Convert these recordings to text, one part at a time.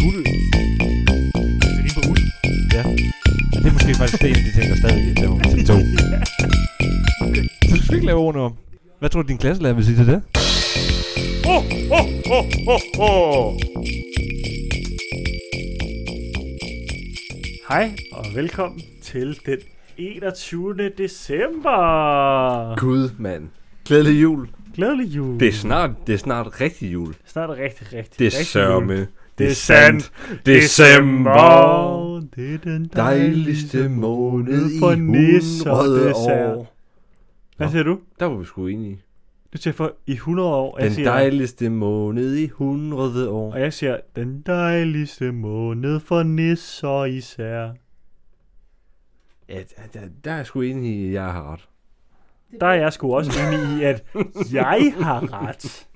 guld. Det er lige på uld. Og det er måske faktisk det, en af de ting, der stadig er på til to. Så du skal ikke lave ordene om. Hvad tror du, din klasselærer vil sige til det? Hej og velkommen til den 21. december. Gud, mand. Glædelig jul. Glædelig jul. Det er snart, det er snart rigtig jul. snart rigtig, rigtig, Det er rigtig sørme. jul. Det er sandt. December. Det er den Dejligste måned i for nisser, 100 det er år. sandt. Hvad siger du? Der var vi sgu enige. Du siger for i 100 år. og jeg Den siger, dejligste måned i 100 år. Og jeg siger, den dejligste måned for nisser især. Ja, der, der, der er jeg sgu enig i, at jeg har ret. Der er jeg sgu også enig i, at jeg har ret.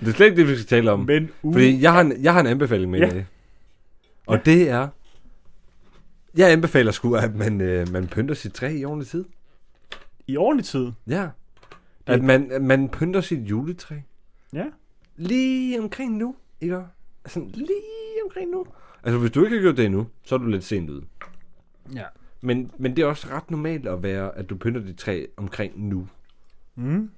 Det er slet ikke det, vi skal tale om. Men u- Mm. Fordi jeg har en, jeg har en anbefaling med Ja. ja. i dag. Og ja. det er... Jeg anbefaler sgu, at man, øh, man pynter sit træ i ordentlig tid. i ordentlig tid. Ja. At man, at man pynter sit juletræ. Ja. Lige omkring nu, ikke? Altså, lige omkring nu. Altså, hvis du ikke har gjort det endnu, så er du lidt sent ude. Ja. Men, men det er også ret normalt at være, at du pynter dit træ omkring nu. Mm.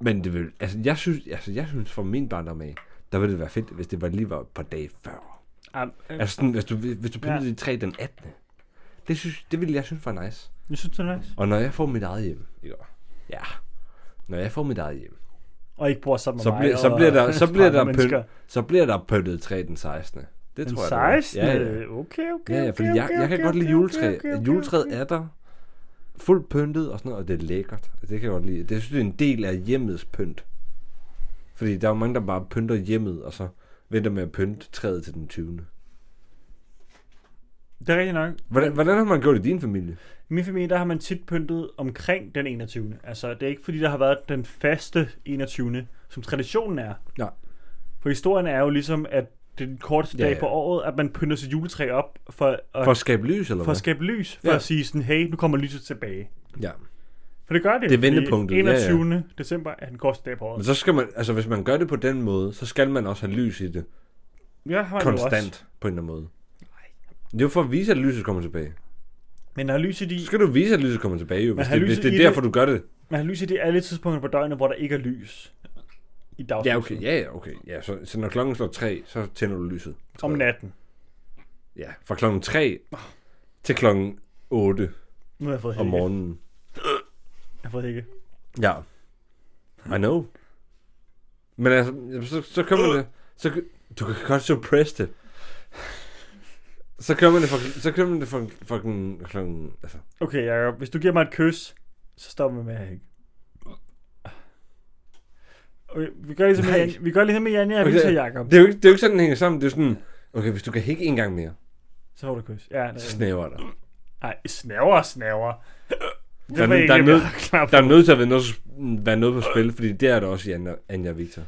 Men det vil, altså, jeg synes, altså, jeg synes fra min barndom af, der ville det være fedt, hvis det var lige var et par dage før. Am, øh, Altså, sådan, hvis du, hvis du pyntede Ja. ja. dit træ den 18. Det, synes, det ville jeg synes var nice. jeg synes, det er nice. Og når jeg får mit eget hjem, ikke? Ja. Når jeg får mit eget hjem, Og ikke bor sammen med så, mig. bliver, så og- bliver der, så bliver der, andre mennesker. pynt, så bliver der pyntet træ den 16. Det Den tror jeg. det var. 16. Ja, ja. øh, Okay, okay, Ja, ja, fordi okay, jeg, okay, jeg kan okay, godt lide okay, juletræ. okay, okay, Juletræet okay. er der fuldt pyntet og sådan noget, og det er lækkert. Det kan jeg godt lide. Det synes jeg er en del af hjemmets pynt. Fordi der er jo mange, der bare pynter hjemmet, og så venter med at pynte træet til den 20. Det er rigtigt nok. Hvordan, hvordan har man gjort i din familie? I min familie, der har man tit pyntet omkring den 21. Altså, det er ikke fordi, der har været den faste 21. som traditionen er. Nej. For historien er jo ligesom, at det er den korteste Ja, dag ja. på året, at man pynter sit juletræ op for, at, For at skabe lys, for eller hvad? at skabe lys. For ja. Ja. at sige sådan, hey, nu kommer lyset tilbage. Ja. For det gør det. Det er fordi vendepunktet, ja, ja. 21. Ja, ja. december er den korteste dag på Men året. så skal man, altså hvis man gør det på den måde, så skal man også have lys i det. Ja, har man jo Også. Konstant, på en eller anden måde. Det er jo for at vise, at lyset kommer tilbage. Men at have lys i de, Så skal du vise, at lyset kommer tilbage, jo, hvis, have det, hvis lyset det i er det- derfor, du gør det. man har lys i de alle tidspunkter på døgnet, hvor der ikke er lys. I dagslyset. Ja, okay. Ja, ja, okay. Ja, så, så når klokken slår 3, så tænder du lyset. Om natten. Ja, fra klokken 3 til klokken 8 Nu har jeg fået om hække. morgenen. Jeg har fået hække. Ja. I know. Men altså, jamen, så, så kører man det. Så, kø- du kan godt suppress det. Så kører man det fra, så kører man det fra, fra den- klokken... Altså, Okay, Jacob, hvis du giver mig et kys, så stopper vi med at hække. Okay, vi gør ligesom, med Nej. Jan, vi gør ligesom med Janne, jeg Okay. viser Jacob. det, er jo ikke, det er jo ikke sådan, den hænger sammen. Det er sådan, okay, hvis du kan hække en gang mere, Så får du et kys. Ja, så nej. snæver der. Ej, snæver, snæver. Det Der er var nød- ikke der er det, nød- jeg var klar på. Der er nødt til at være noget, være noget på spil, fordi det er der også i Anja, Anja og Victor.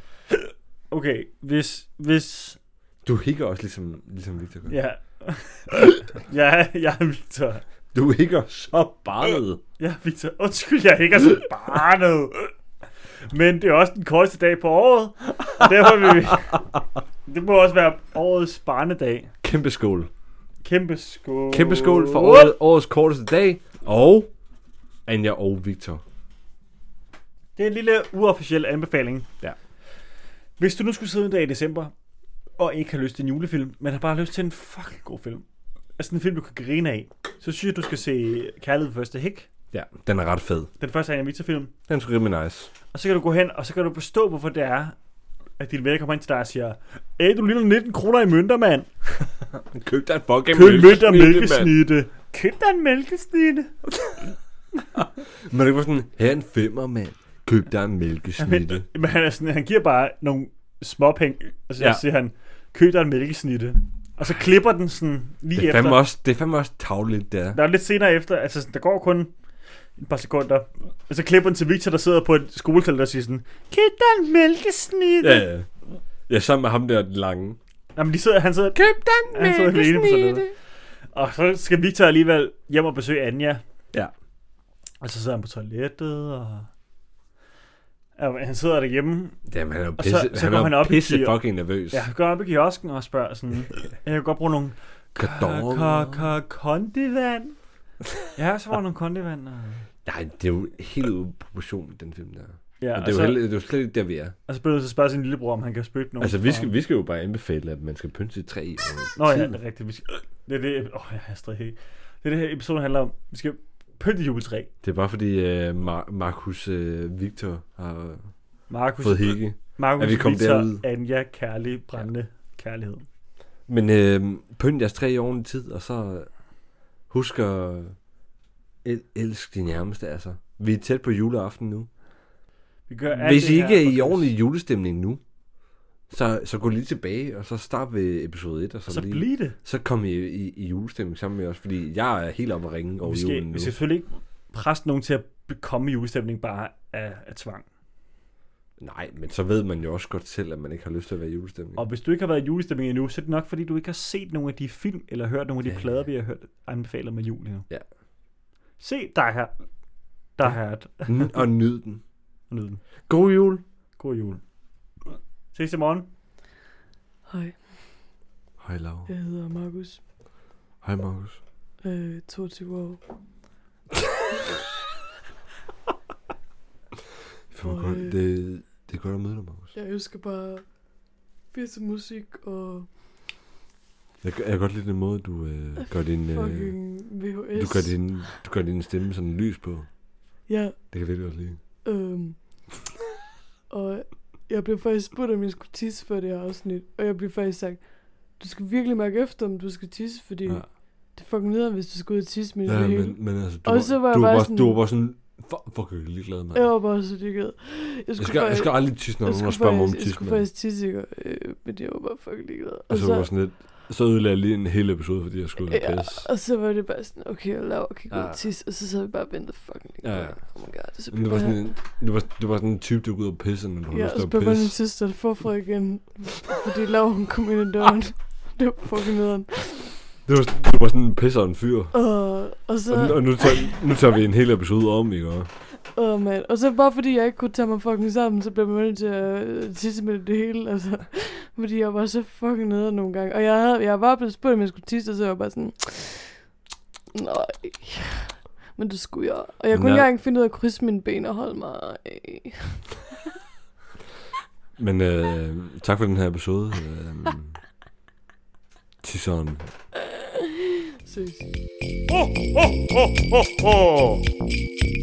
Okay, hvis, hvis, Du hikker også ligesom, ligesom Victor gør. ja. ja, jeg er Victor. Du hikker så barnet. Jeg er Victor. Undskyld, jeg hækker så barnet. Men det er også den koldeste dag på året. Og derfor vil vi... Det må også være årets barnedag. Kæmpe skål. Kæmpe skål. Kæmpe skål for året, årets korteste dag. Og Anja og Victor. Det er en lille uofficiel anbefaling. Ja. Hvis du nu skulle sidde en dag i december, og ikke har lyst til en julefilm, men har bare lyst til en fucking god film, altså en film, du kan grine af, så synes jeg, du skal se Kærlighed ved første hæk, Ja, den er ret fed. den første Anna film Den er sgu rimelig nice. og så kan du gå hen, og så kan du forstå, hvorfor det er, at dine venner kommer ind til dig og siger, Æh, du ligner 19 kroner i mønter, mand. Køb dig en fucking Køb en mønter mælkesnitte. Køb dig en mælkesnitte. Men det var sådan, her er en femmer, mand. Køb dig en mælkesnitte. Men han, er sådan, han giver bare nogle småpenge, og så ja. Ja. siger han, køb dig en mælkesnitte. Og så klipper den sådan lige Det er efter. fandme også, det er fandme også tavligt, det er. Der er lidt senere efter, altså sådan, der går kun et par sekunder, og så klipper den til Victor, der sidder på et skoletelt og siger sådan, køb dig en mælkesnitte. Ja. Ja, ja. Ja, sammen med ham der den lange. Jamen, de sidder, han sidder, Køb den Han sidder alene på mælkesnitte. toilettet. og så skal Victor alligevel hjem og besøge Anja. Ja. Og så sidder han på toilettet, og... Og han sidder derhjemme, Jamen, han er jo Og så- pisse, så han går er han jo op i pisse gear. fucking nervøs. jeg går op i kiosken og spørger sådan, jeg kan godt bruge nogle Kadong. k- k- kondivand. Ja, så var der nogle kondivand. Og... Nej, det er jo helt ude af proportion, den film der. Ja, altså- Men og, det, er jo så, heller, det er jo slet ikke der, vi er. og så bliver du så spørge sin lillebror, om han kan spytte nogen. Altså, vi Og- skal, vi skal jo bare anbefale, at man skal pynte sit træ. i Nå ja, tiden. det er rigtigt. Vi skal... Det er det, åh, jeg haster helt. Det er det her episode handler om. Vi skal pynte juletræ. Det er bare fordi uh, Mar- Markus uh, Victor har Markus, fået hikke. Markus at vi kom derud. Victor, Anja, kærlig, brændende kærlighed. Men øh, pynt jeres træ i ordentlig tid, og så husk at el- elsk de nærmeste, altså. Vi er tæt på juleaften nu. Vi gør alt Hvis I det her ikke er i for- ordentlig julestemning nu, så, så gå lige tilbage, og så start ved episode 1, og så, Så lige, bliv det. så kom I, i, i julestemning sammen med os, fordi jeg er helt oppe at ringe over Vi julen skal, nu. vi skal selvfølgelig ikke presse nogen til at be- komme i julestemning bare af, af tvang. Nej, men så ved man jo også godt selv, at man ikke har lyst til at være i julestemning. Og hvis du ikke har været i julestemning endnu, så er det nok, fordi du ikke har set nogen af de film, eller hørt nogle af de Ja. plader, vi har hørt anbefalet med jul endnu. Ja. Se, der er her. Der er her. N- og nyd den. Nyd den. God jul. God jul. Ses i morgen. Hej, Hej Laura. jeg hedder Markus, Hej Markus. øh, 22 år, Fandme Oj. godt. Det, det er godt at møde dig, Markus. Jeg elsker bare pisse musik og Jeg, jeg kan godt lide den måde, du øh, gør din... Øh, fucking VHS. du, gør din, du gør din stemme sådan lys på. Ja, Det kan jeg virkelig godt lide. øhm. og jeg blev faktisk spurgt, om jeg skulle tisse for det her afsnit. Og jeg blev faktisk sagt, du skal virkelig mærke efter, om du skal tisse, fordi Ja, det er fucking nederen, hvis du skal ud og tisse midt i ja det hele. men, men altså, du, Og var, så var jeg du, var bare bare, sådan- du var bare sådan... Fuck, fuck jeg er ligeglad, mand. Jeg var bare så ligeglad. Jeg skal, jeg skal aldrig tisse, når jeg nogen har skulle, spørger mig om faktisk, jeg tisse, skulle mand. Altså, faktisk tisse, ikke? Øh, men jeg var bare fucking ligeglad. Og Og så var jeg sådan lidt... Så ødelagde jeg lige en hel episode, fordi jeg skulle ud og Ja, pisse. og så var det bare sådan, okay, jeg laver, kan gå Ja. ja. tisse, og så sad vi bare og ventede fucking længe. Ja, Ja, ja. ja. Oh my god, og så Men blev det var jeg bare... sådan en, det var, det var sådan en type, der gik ud og pisse, når du har ja, lyst og til så at blev min pisse. søster forfra igen, fordi Laura hun kom ind i døren. det var fucking nederen. Det var, det var sådan en pisser en fyr. Og, og så, Og, nu- og nu, tager, nu tager vi en hel episode om, ikke? også? åh, man. og så bare fordi jeg ikke kunne tage mig fucking sammen, så blev jeg nødt til at øh, tisse med det hele, altså. Fordi jeg var så fucking nederen nogle gange. Og jeg, havde, jeg var blevet spurgt, om jeg skulle tisse, og så var jeg bare sådan, nej. Men det skulle jeg. Og jeg Men kunne ikke der- engang finde ud af at krydse mine ben og holde mig. øh, Men øh, tak for den her episode. Øh, tisseren. Seriøst. Ho, ho, ho, ho.